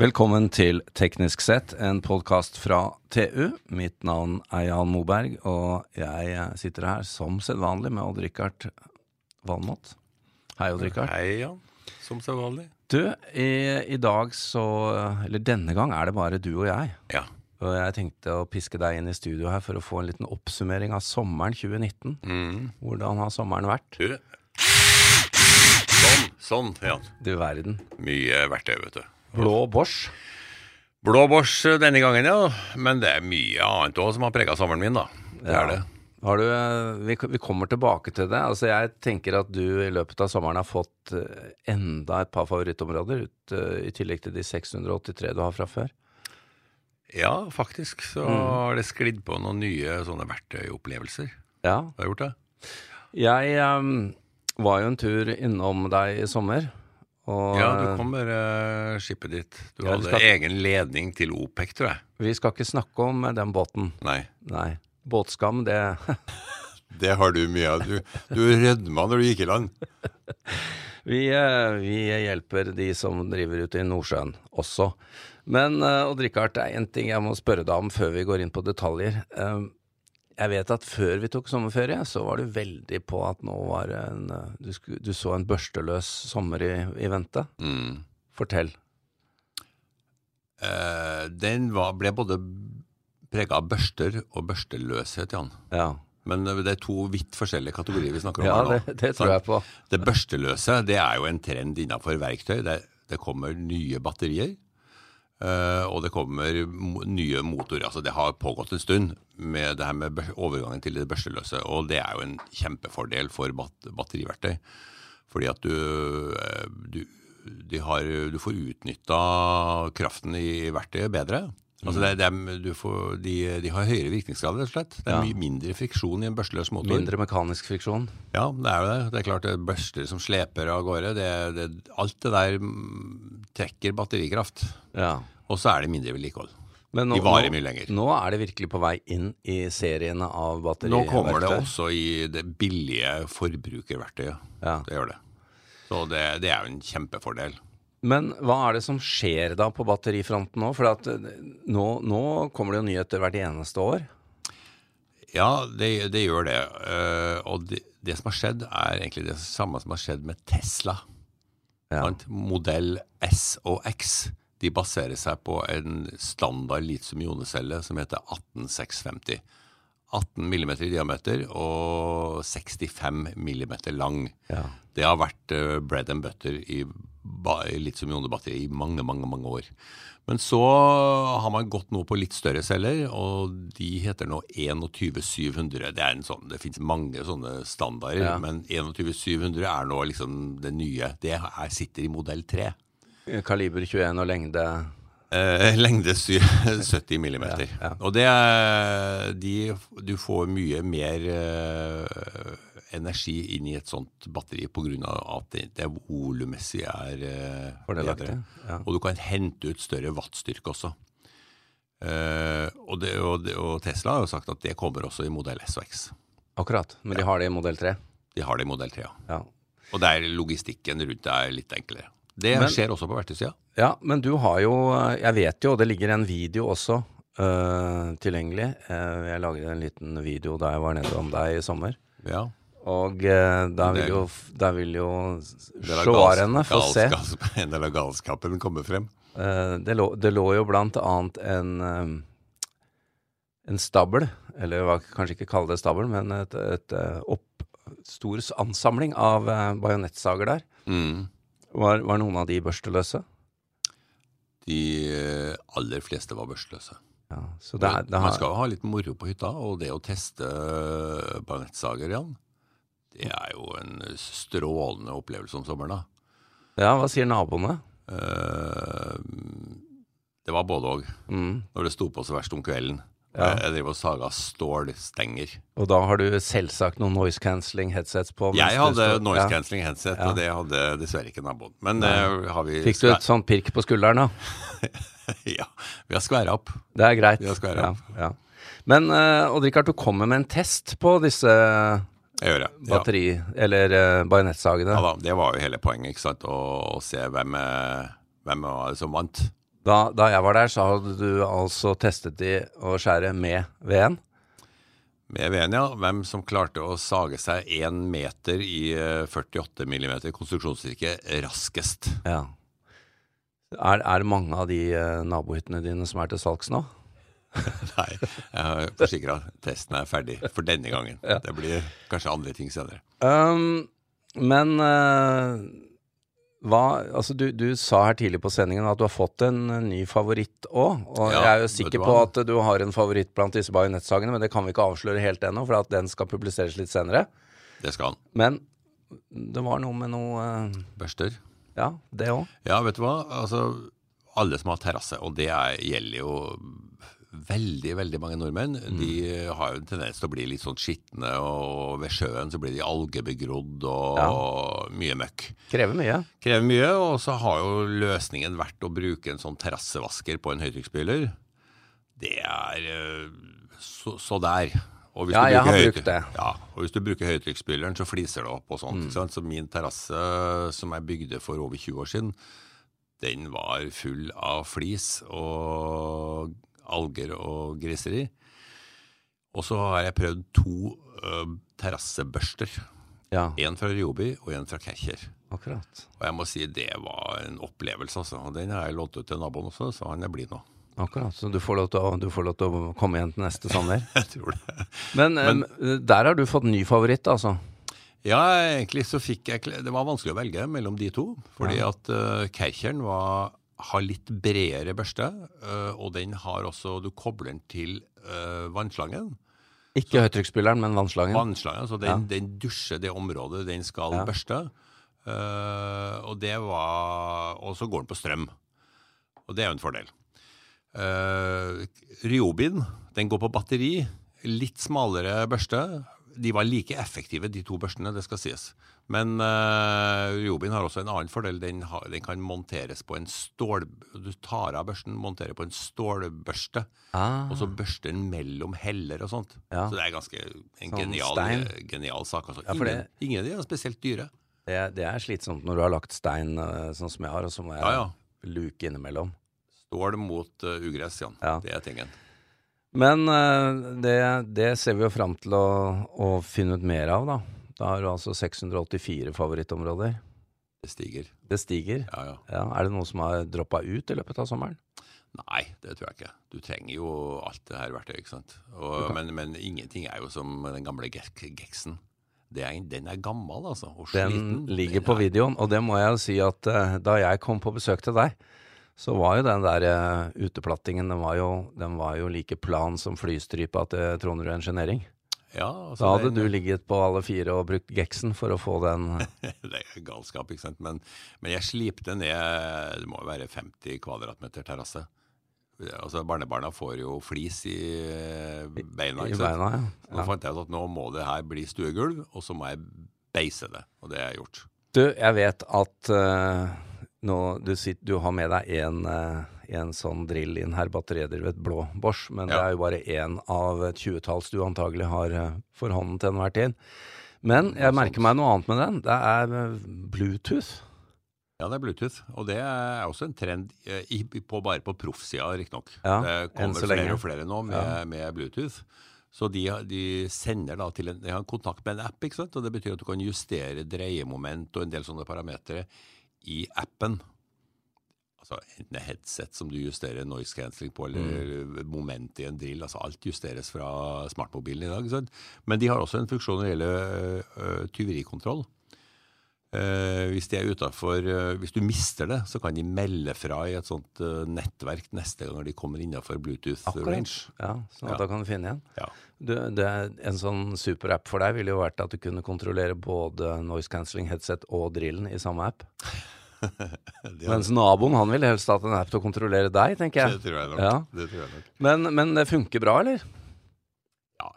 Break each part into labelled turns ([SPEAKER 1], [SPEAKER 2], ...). [SPEAKER 1] Velkommen til Teknisk sett, en podkast fra TU. Mitt navn er Jan Moberg, og jeg sitter her som sedvanlig med Odd-Rikard Valmot. Hei, Odd-Rikard.
[SPEAKER 2] Hei, Jan. Som sedvanlig.
[SPEAKER 1] Du, i, i dag så Eller denne gang er det bare du og jeg.
[SPEAKER 2] Ja.
[SPEAKER 1] Og jeg tenkte å piske deg inn i studio her for å få en liten oppsummering av sommeren 2019. Hvordan har sommeren vært?
[SPEAKER 2] Du. Sånn, sånn, Jan.
[SPEAKER 1] Du verden.
[SPEAKER 2] Mye verktøy, vet du.
[SPEAKER 1] Blå Bosch.
[SPEAKER 2] Blå bors eh, denne gangen, ja. Men det er mye annet òg som har prega sommeren min, da. Det er det.
[SPEAKER 1] Har du, eh, vi, vi kommer tilbake til det. Altså, jeg tenker at du i løpet av sommeren har fått eh, enda et par favorittområder, ut, eh, i tillegg til de 683 du har fra før.
[SPEAKER 2] Ja, faktisk så
[SPEAKER 3] Mm.
[SPEAKER 2] har det sklidd på noen nye sånne verktøyopplevelser.
[SPEAKER 1] Ja.
[SPEAKER 2] Har jeg gjort det?
[SPEAKER 1] Jeg eh, var jo en tur innom deg i sommer. Og
[SPEAKER 2] Ja, du kom med eh, skipet ditt. Du
[SPEAKER 1] Ja, du
[SPEAKER 2] hadde
[SPEAKER 1] skal-
[SPEAKER 2] egen ledning til OPEC, tror jeg.
[SPEAKER 1] vi skal ikke snakke om eh, den båten.
[SPEAKER 2] Nei.
[SPEAKER 1] Nei. Båtskam, det
[SPEAKER 3] Det har du mye av. Du, du rødma når du gikk i land.
[SPEAKER 1] vi, eh, vi hjelper de som driver ute i Nordsjøen også. Men eh, Odd Rikard, det er én ting jeg må spørre deg om før vi går inn på detaljer. Eh, Jeg vet at før vi tok sommerferie, så var du veldig på at nå var det en eh, Du, sku, du så en børsteløs sommer i, i vente.
[SPEAKER 2] Mm.
[SPEAKER 1] Fortell.
[SPEAKER 3] Eh, den var, ble både prega av børster og børsteløshet, Jan.
[SPEAKER 1] Ja,
[SPEAKER 3] Men eh, det er to vidt forskjellige kategorier vi snakker om
[SPEAKER 1] ja
[SPEAKER 3] her nå.
[SPEAKER 1] det, det tror jeg på.
[SPEAKER 3] Det børsteløse det er jo en trend innafor verktøy. Det, det kommer nye batterier, eh, og det kommer mo- nye motorer. Altså, det har pågått en stund med det her med bør- overgangen til det børsteløse, og det er jo en kjempefordel for bat batteriverktøy. Fordi at du, eh, du, de har, du får utnytta kraften i verktøyet bedre. Altså det, er- det er, du får, de, de har høyere virkningsgrad, rett og slett. Det er mye mindre friksjon i en børsteløs motor.
[SPEAKER 1] Mindre mekanisk friksjon.
[SPEAKER 3] Ja, det er jo det. Det er klart det er børster som sleper av gårde. Det, det, alt det der mm, trekker batterikraft.
[SPEAKER 1] Ja.
[SPEAKER 3] Og så er det mindre vedlikehold.
[SPEAKER 1] Men
[SPEAKER 3] De varer mye lenger.
[SPEAKER 1] Nå er det virkelig på vei inn i seriene av batteriverktøy.
[SPEAKER 3] Nå kommer det også i det billige forbrukerverktøyet.
[SPEAKER 1] Ja.
[SPEAKER 3] Det gjør det. Så det, det er jo en kjempefordel.
[SPEAKER 1] Men hva er det som skjer da på batterifronten nå? For at eh, nå, nå kommer det jo nyheter hvert eneste år.
[SPEAKER 3] Ja, det, det gjør det. Eh, og det, det som har skjedd, er egentlig det samme som har skjedd med Tesla.
[SPEAKER 1] Ja.
[SPEAKER 3] Sant? Modell S og X de baserer seg på en standard litium-ionecelle som heter 18650. 18 mm i diameter og 65 mm lang.
[SPEAKER 1] Ja.
[SPEAKER 3] Det har vært eh, bread and butter i ba- i litium-ionebatteri i mange, mange mange år. Men så har man gått nå på litt større celler, og de heter nå 21700. Det er en sånn, det fins mange sånne standarder,
[SPEAKER 1] Ja.
[SPEAKER 3] men 21700 er nå liksom det nye. Det her sitter i modell 3.
[SPEAKER 1] Kaliber 21 og lengde.
[SPEAKER 3] Eh, lengde sy 70 millimeter. Og det er de, Du får mye mer eh, energi inn i et sånt batteri pga. at det, det volummessig er eh,
[SPEAKER 1] Fordelaktig,
[SPEAKER 3] bedre.
[SPEAKER 1] ja.
[SPEAKER 3] Og du kan hente ut større wattstyrke også. Eh, og, det, og, det, og Tesla har jo sagt at det kommer også i modell S og X.
[SPEAKER 1] Akkurat. Men de har det i modell 3.
[SPEAKER 3] De har det i modell 3. Ja.
[SPEAKER 1] Ja.
[SPEAKER 3] Og der logistikken rundt det er litt enklere. Det
[SPEAKER 1] Men-
[SPEAKER 3] skjer også på verktøysida.
[SPEAKER 1] ja, men du har jo eh, Jeg vet jo, og det ligger en video også eh, tilgjengelig. Eh, jeg lagde en liten video da jeg var nede om deg i sommer.
[SPEAKER 3] Ja.
[SPEAKER 1] Og eh, der,
[SPEAKER 3] Det er
[SPEAKER 1] vil jo, der vil jo
[SPEAKER 3] Det er
[SPEAKER 1] seerne få
[SPEAKER 3] gals-
[SPEAKER 1] se.
[SPEAKER 3] gals- En del av galskapen kommer frem.
[SPEAKER 1] Eh, det, lå, det lå jo blant annet en, eh, en stabel, eller hva, kanskje ikke kalle det stabel, men et, et eh, opp, stor s- ansamling av eh, bajonettsager der.
[SPEAKER 3] Mm.
[SPEAKER 1] Var, var noen av de børsteløse?
[SPEAKER 3] De eh, aller fleste var børstløse.
[SPEAKER 1] Ja, så det, er- det
[SPEAKER 3] Man
[SPEAKER 1] har,
[SPEAKER 3] skal jo ha litt moro på hytta, og det å teste bajonettsager igjen, det er jo en strålende opplevelse om sommeren, da.
[SPEAKER 1] ja, hva sier naboene?
[SPEAKER 3] Eh, Det var både òg.
[SPEAKER 1] Mm.
[SPEAKER 3] Når det sto på så verst om kvelden.
[SPEAKER 1] Ja.
[SPEAKER 3] Jeg drev og saga stålstenger.
[SPEAKER 1] Og da har du selvsagt noen noise cancelling headsets på. mens
[SPEAKER 3] Jeg
[SPEAKER 1] du
[SPEAKER 3] hadde
[SPEAKER 1] står-
[SPEAKER 3] noise
[SPEAKER 1] Ja.
[SPEAKER 3] cancelling headset,
[SPEAKER 1] Ja.
[SPEAKER 3] og det hadde dessverre ikke naboen. Men eh, har vi
[SPEAKER 1] Fikk du et sånt pirk på skulderen da?
[SPEAKER 3] Ja. Vi har skværa opp.
[SPEAKER 1] Det er greit.
[SPEAKER 3] Jeg skal
[SPEAKER 1] ja,
[SPEAKER 3] være
[SPEAKER 1] ja. Men eh, Odd-Rikard, du kommer med en test på disse eh,
[SPEAKER 3] Jeg gjør det. Ja.
[SPEAKER 1] batteri- eller eh, bajonettsagene.
[SPEAKER 3] Ja da, det var jo hele poenget, ikke sant? Å, å se hvem, eh, hvem var det som vant.
[SPEAKER 1] Da, da jeg var der, så hadde du altså testet de å skjære med veden.
[SPEAKER 3] Med Venia, hvem som klarte å sage seg én meter i eh, 48 mm konstruksjonsstyrke raskest.
[SPEAKER 1] Ja. Er, er det mange av de eh, nabohyttene dine som er til salgs nå?
[SPEAKER 3] Nei, jeg forsikrer at testen er ferdig for denne gangen. Det blir kanskje andre ting senere.
[SPEAKER 1] Um, men eh, hva Altså, du, du sa her tidlig på sendingen at du har fått en eh, ny favoritt òg. Og
[SPEAKER 3] Ja,
[SPEAKER 1] jeg er jo
[SPEAKER 3] vet du
[SPEAKER 1] sikker
[SPEAKER 3] hva?
[SPEAKER 1] på at du har en favoritt blant disse bajonettsagene, men det kan vi ikke avsløre helt ennå, for at den skal publiseres litt senere.
[SPEAKER 3] Det skal han.
[SPEAKER 1] Men det var noe med noe eh,
[SPEAKER 3] Børster.
[SPEAKER 1] Ja, det òg.
[SPEAKER 3] Ja, vet du hva? Altså, alle som har terrasse, og det er, gjelder jo veldig, veldig mange nordmenn, de har jo en tendens til å bli litt sånn skitne, og ved sjøen så blir de algebegrodd og, og mye møkk.
[SPEAKER 1] Krever mye.
[SPEAKER 3] Krever mye, og så har jo løsningen vært å bruke en sånn terrassevasker på en høytrykksspyler. Det er eh, så, så der. Og
[SPEAKER 1] Ja,
[SPEAKER 3] du
[SPEAKER 1] jeg
[SPEAKER 3] bruker
[SPEAKER 1] har
[SPEAKER 3] høyt-
[SPEAKER 1] brukt det. Mm.
[SPEAKER 3] Ja, og hvis du bruker høytrykksspyleren, så fliser det opp og sånt. Ikke sant? Så min terrasse, som jeg bygde for over 20 år siden, den var full av flis og alger og griseri. Og så har jeg prøvd to eh, terrassebørster.
[SPEAKER 1] Ja,
[SPEAKER 3] En fra Ryobi og en fra Kercher.
[SPEAKER 1] akkurat.
[SPEAKER 3] Og jeg må si det var en opplevelse, altså. Og den har jeg lånt ut til naboen også, så han er blid nå.
[SPEAKER 1] Akkurat, Så du får lov til å, du får lov til å komme igjen til neste sommer.
[SPEAKER 3] Jeg tror det.
[SPEAKER 1] Men, eh, der har du fått ny favoritt, altså.
[SPEAKER 3] Ja, egentlig så fikk jeg kle- Det var vanskelig å velge mellom de to. Fordi at uh, Kercheren var, har litt bredere børste, eh, og den har også Du kobler den til eh, vannslangen.
[SPEAKER 1] Ikke høytrykksspilleren, men vannslangen.
[SPEAKER 3] Vannslangen, så den, den dusjer det området den skal
[SPEAKER 1] Ja.
[SPEAKER 3] børste. Eh, og det var Og så går den på strøm. Og det er jo en fordel. Uh, Ryobin, den går på batteri. Litt smalere børste. De var like effektive, de to børstene, det skal sies. Men uh, Ryobin har også en annen fordel. Den, har, den kan monteres på en stål... Du tar av børsten, monterer på en stålbørste,
[SPEAKER 1] Ah.
[SPEAKER 3] og så børster den mellom heller og sånt.
[SPEAKER 1] Ja.
[SPEAKER 3] Så det er ganske en
[SPEAKER 1] Sånn
[SPEAKER 3] genial,
[SPEAKER 1] stein.
[SPEAKER 3] genial sak. Altså.
[SPEAKER 1] Ja, for
[SPEAKER 3] ingen,
[SPEAKER 1] det-
[SPEAKER 3] ingen av de er spesielt dyre.
[SPEAKER 1] Det, det er slitsomt når du har lagt stein eh, sånn som jeg har, og så må jeg
[SPEAKER 3] Ja, ja.
[SPEAKER 1] luke innimellom.
[SPEAKER 3] Stål mot eh, ugress, Jan.
[SPEAKER 1] Ja.
[SPEAKER 3] Det er tingen.
[SPEAKER 1] Men eh, det, det ser vi jo fram til å, å finne ut mer av, da. Da har du altså 684 favorittområder.
[SPEAKER 3] Det stiger.
[SPEAKER 1] Det stiger.
[SPEAKER 3] Ja, ja.
[SPEAKER 1] Ja, er det noen som har droppa ut i løpet av sommeren?
[SPEAKER 3] Nei, det tror jeg ikke. Du trenger jo alt det her verktøyet, ikke sant. Og, men, men ingenting er jo som den gamle Ge- Gexen. Det er, den er gammel, altså. Og sliten.
[SPEAKER 1] Den ligger
[SPEAKER 3] Den
[SPEAKER 1] på
[SPEAKER 3] er-
[SPEAKER 1] videoen, og det må jeg jo si at eh, da jeg kom på besøk til deg, så var jo den der eh, uteplattingen, den var, jo, den var jo like plan som flystripa til Trondrud Engineering.
[SPEAKER 3] Ja,
[SPEAKER 1] Da
[SPEAKER 3] altså,
[SPEAKER 1] hadde
[SPEAKER 3] den-
[SPEAKER 1] du ligget på alle fire og brukt geksen for å få den
[SPEAKER 3] Det er galskap, ikke sant. Men, men jeg slipte ned Det må jo være 50 kvadratmeter terrasse. Altså, Barnebarna får jo flis i eh, beina.
[SPEAKER 1] i
[SPEAKER 3] ikke sant?
[SPEAKER 1] beina.
[SPEAKER 3] Så
[SPEAKER 1] Ja.
[SPEAKER 3] Nå fant jeg ut at nå må det her bli stuegulv, og så må jeg beise det. Og det har jeg gjort.
[SPEAKER 1] Du, jeg vet at eh, nå, du, sitter, du har med deg en, eh, en sånn drill inn her, batteridrevet blå Bosch, men det
[SPEAKER 3] Ja.
[SPEAKER 1] er jo bare én av et tjuetalls du antagelig har eh, for hånden til enhver tid. Men jeg merker meg noe annet med den. Det er eh, Bluetooth.
[SPEAKER 3] Ja, det er Bluetooth, og det er også en trend eh, i, på, bare på proffsida, riktignok.
[SPEAKER 1] Ja,
[SPEAKER 3] det
[SPEAKER 1] enn
[SPEAKER 3] kommer
[SPEAKER 1] så
[SPEAKER 3] flere
[SPEAKER 1] lenge.
[SPEAKER 3] og flere nå med, med Bluetooth. Så de, har- de sender da til en, de har en kontakt med en app, ikke sant? og det betyr at du kan justere dreiemoment og en del sånne parametere i appen. Altså enten det er headset som du justerer noise cancelling på, eller moment i en drill. altså Alt justeres fra smartmobilen i dag. ikke Sant? Men de har også en funksjon når det gjelder ø, ø, tyverikontroll. Eh, hvis de er utenfor, eh, hvis du mister det, så kan de melde fra i et sånt eh, nettverk neste gang de kommer innafor Bluetooth range.
[SPEAKER 1] Ja, sånn at
[SPEAKER 3] Ja.
[SPEAKER 1] da kan du finne igjen.
[SPEAKER 3] Ja.
[SPEAKER 1] Du, det, er- en sånn superapp for deg ville jo vært at du kunne kontrollere både noise cancelling headset og drillen i samme app.
[SPEAKER 3] Det,
[SPEAKER 1] Mens naboen han ville helst hatt en app til å kontrollere deg, tenker jeg.
[SPEAKER 3] det tror jeg nok.
[SPEAKER 1] Ja.
[SPEAKER 3] Det tror jeg nok.
[SPEAKER 1] Men, men det funker bra, eller?
[SPEAKER 3] Ja,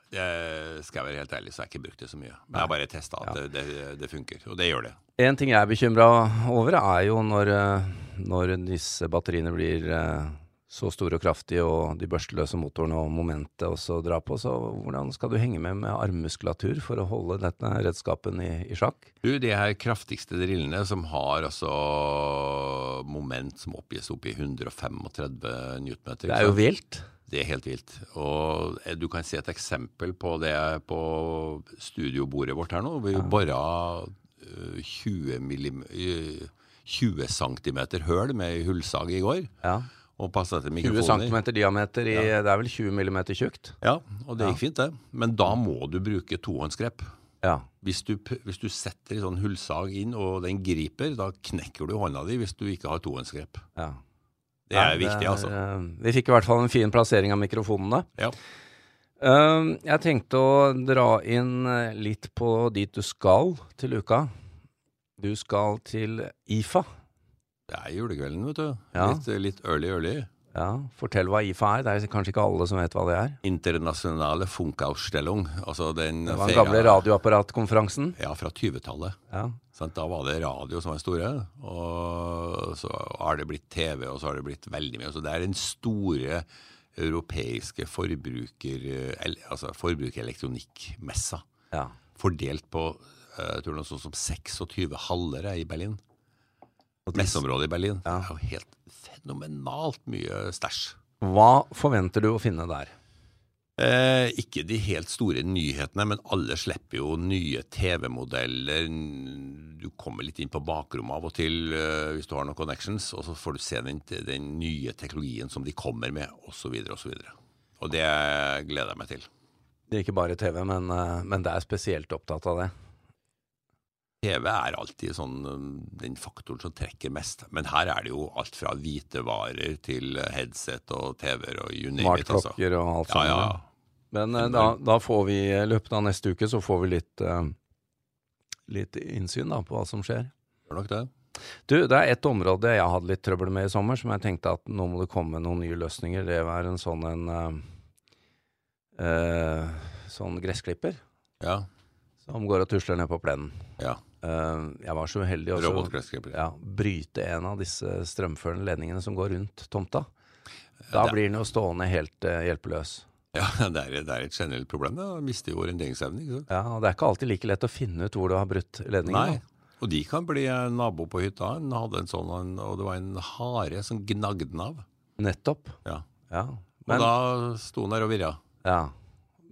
[SPEAKER 3] det skal jeg være helt ærlig, så har jeg ikke brukt det så mye. Men jeg har bare testa at det, det, det funker, og det gjør det.
[SPEAKER 1] En ting jeg er bekymra over, er jo når, eh, når disse batteriene blir eh, så stor og kraftig, og de børsteløse motorene og momentet også drar på, så hvordan skal du henge med med armmuskulatur for å holde dette redskapen i, i sjakk?
[SPEAKER 3] Du, de her kraftigste drillene som har altså moment som oppgis opp i 135 newtonmeter.
[SPEAKER 1] Det er jo vilt.
[SPEAKER 3] Det er helt vilt. Og eh, du kan se et eksempel på det på studiobordet vårt her nå. Vi bora eh, 20, millim, eh, 20 cm høl med hullsag i går.
[SPEAKER 1] Ja.
[SPEAKER 3] Og passa etter
[SPEAKER 1] 20
[SPEAKER 3] mikrofoner.
[SPEAKER 1] cm diameter i Det er vel 20 mm tjukt?
[SPEAKER 3] Ja, og det gikk fint, det. Men da må du bruke tohåndsgrep.
[SPEAKER 1] Ja.
[SPEAKER 3] Hvis du, p- hvis du setter en sånn hullsag inn, og den griper, da knekker du hånda di hvis du ikke har tohåndsgrep.
[SPEAKER 1] ja.
[SPEAKER 3] Det er
[SPEAKER 1] Nei,
[SPEAKER 3] viktig, altså.
[SPEAKER 1] eh, Vi fikk i hvert fall en fin plassering av mikrofonene.
[SPEAKER 3] Ja.
[SPEAKER 1] Eh, Jeg tenkte å dra inn eh, litt på dit du skal til uka. Du skal til IFA.
[SPEAKER 3] Det er julekvelden, vet du.
[SPEAKER 1] Ja.
[SPEAKER 3] Litt, litt early, early.
[SPEAKER 1] Ja, Fortell hva IFA er. Det er kanskje ikke alle som vet hva det er.
[SPEAKER 3] Internasjonale Funkausstellung. Altså den
[SPEAKER 1] Det var den
[SPEAKER 3] feira-
[SPEAKER 1] gamle radioapparatkonferansen.
[SPEAKER 3] Ja, fra 20-tallet.
[SPEAKER 1] Ja.
[SPEAKER 3] Sant? Da var det radio som var store, og så har det blitt TV, og så har det blitt veldig mye. Så det er den store europeiske forbruker, el- altså forbrukerelektronikkmessa.
[SPEAKER 1] ja.
[SPEAKER 3] Fordelt på eh, jeg tror noe sånt som 26 haller er i Berlin. Messeområdet i Berlin. Det er jo helt fenomenalt mye stæsj.
[SPEAKER 1] Hva forventer du å finne der?
[SPEAKER 3] Eh, ikke de helt store nyhetene, men alle slipper jo nye TV-modeller. N- Du kommer litt inn på bakrommet av og til eh, hvis du har noen connections, og så får du se den, den nye teknologien som de kommer med, osv., osv. Og det gleder jeg meg til.
[SPEAKER 1] Det er ikke bare TV, men, eh, men det er spesielt opptatt av det.
[SPEAKER 3] TV er alltid sånn, eh, den faktoren som trekker mest, men her er det jo alt fra hvitevarer til eh, headset og TV-er og you name it, altså.
[SPEAKER 1] Smartklokker og alt
[SPEAKER 3] Ja,
[SPEAKER 1] sånt.
[SPEAKER 3] ja, Mm.
[SPEAKER 1] ja. Men eh, da, da får vi, i løpet av neste uke, så får vi litt, eh, litt innsyn da, på hva som skjer.
[SPEAKER 3] gjør nok det.
[SPEAKER 1] Du, det er ett område jeg hadde litt trøbbel med i sommer, som jeg tenkte at nå må det komme noen nye løsninger. Det var en sånn en eh, eh, sånn gressklipper
[SPEAKER 3] Ja,
[SPEAKER 1] som går og tusler ned på plenen.
[SPEAKER 3] ja.
[SPEAKER 1] Eh, jeg var så uheldig også
[SPEAKER 3] Robotgressklipper.
[SPEAKER 1] ja, bryte en av disse strømførende ledningene som går rundt tomta. Da
[SPEAKER 3] det-
[SPEAKER 1] blir den jo stående helt eh, hjelpeløs.
[SPEAKER 3] Ja, det er, det er et generelt problem. Da. Man Mister jo orienteringsevnen. ikke sant?
[SPEAKER 1] Ja, og Det er ikke alltid like lett å finne ut hvor du har brutt ledningen.
[SPEAKER 3] Nei. Og de kan bli eh, nabo på hytta. Han hadde en sånn, han- og det var en hare som gnagde den av.
[SPEAKER 1] da. Nettopp.
[SPEAKER 3] Ja.
[SPEAKER 1] Ja.
[SPEAKER 3] Og
[SPEAKER 1] Men,
[SPEAKER 3] da sto han der og virra.
[SPEAKER 1] ja.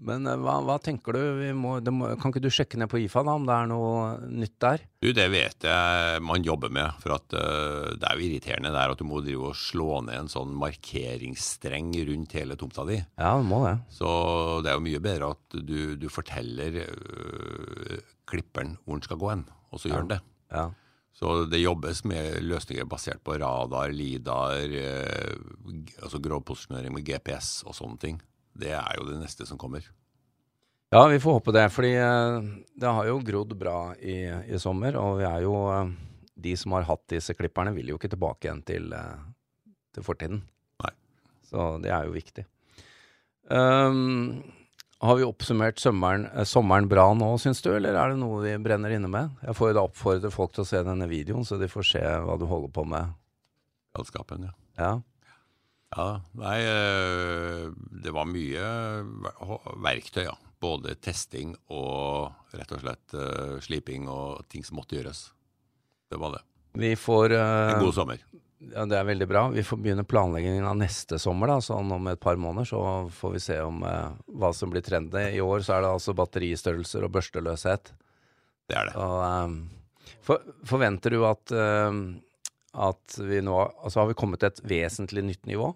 [SPEAKER 1] Men eh, hva, hva tenker du? Vi må, det må, kan ikke du sjekke ned på IFA da, om det er noe nytt der?
[SPEAKER 3] Du, det vet jeg man jobber med, for at eh, det er jo irriterende det er at du må drive og slå ned en sånn markeringsstreng rundt hele tomta di.
[SPEAKER 1] Ja, det må det.
[SPEAKER 3] Så det er jo mye bedre at du, du forteller eh, klipperen hvor den skal gå hen, og så gjør han det.
[SPEAKER 1] Ja.
[SPEAKER 3] Så det jobbes med løsninger basert på radar, lidar, eh, g- altså grovposisjonering med GPS og sånne ting. Det er jo det neste som kommer.
[SPEAKER 1] ja, vi får håpe det. Fordi eh, det har jo grodd bra i, i sommer, og vi er jo eh, De som har hatt disse klipperne, vil jo ikke tilbake igjen til, eh, til fortiden.
[SPEAKER 3] Nei.
[SPEAKER 1] Så det er jo viktig. Ehm, har vi oppsummert sommeren, eh, sommeren bra nå, syns du, eller er det noe vi brenner inne med? Jeg får jo da oppfordre folk til å se denne videoen, så de får se hva du holder på med.
[SPEAKER 3] Galskapen, ja.
[SPEAKER 1] Ja,
[SPEAKER 3] ja. Nei, eh, det var mye ver- hå- verktøy, ja. Både testing og rett og slett eh, sliping og ting som måtte gjøres. Det var det.
[SPEAKER 1] vi får eh,
[SPEAKER 3] En god sommer.
[SPEAKER 1] Ja, det er veldig bra. Vi får begynne planleggingen av neste sommer, da. Sånn om et par måneder så får vi se om eh, hva som blir trendy. I år så er det altså batteristørrelser og børsteløshet.
[SPEAKER 3] Det er det.
[SPEAKER 1] Og eh, for, forventer du at, eh, at vi nå Altså har vi kommet til et vesentlig nytt nivå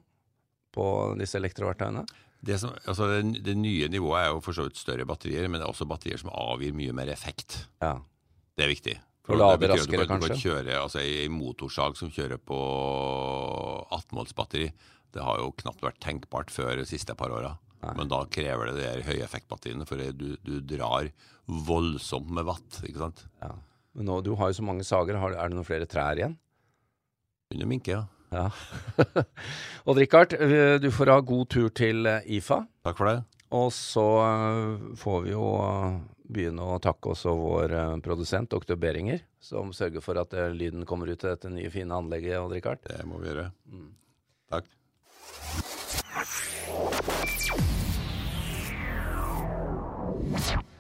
[SPEAKER 1] på disse elektroverktøyene?
[SPEAKER 3] Det, som, altså, det, det nye nivået er jo for så vidt større batterier, men det er også batterier som avgir mye mer effekt.
[SPEAKER 1] Ja.
[SPEAKER 3] Det er viktig.
[SPEAKER 1] Og
[SPEAKER 3] det
[SPEAKER 1] lader
[SPEAKER 3] betyr at
[SPEAKER 1] raskere,
[SPEAKER 3] du kan, Du kan
[SPEAKER 1] kanskje?
[SPEAKER 3] kjøre, altså En motorsag som kjører på 18-voltsbatteri, det har jo knapt vært tenkbart før de siste par åra. Men da krever det de her høye effektbatteriene, for du, du drar voldsomt med watt. ikke sant?
[SPEAKER 1] ja. Men nå, du har jo så mange sager. Har, er det noen flere trær igjen?
[SPEAKER 3] Under minke, ja.
[SPEAKER 1] Ja. Odd Rikard, eh, du får ha god tur til eh, IFA.
[SPEAKER 3] Takk for det.
[SPEAKER 1] Og så eh, får vi jo eh, begynne å takke også vår eh, produsent, dr. Beringer, som sørger for at eh, lyden kommer ut til dette nye, fine anlegget. Odd Rikard.
[SPEAKER 3] Det må vi gjøre. Takk.
[SPEAKER 4] Thank you.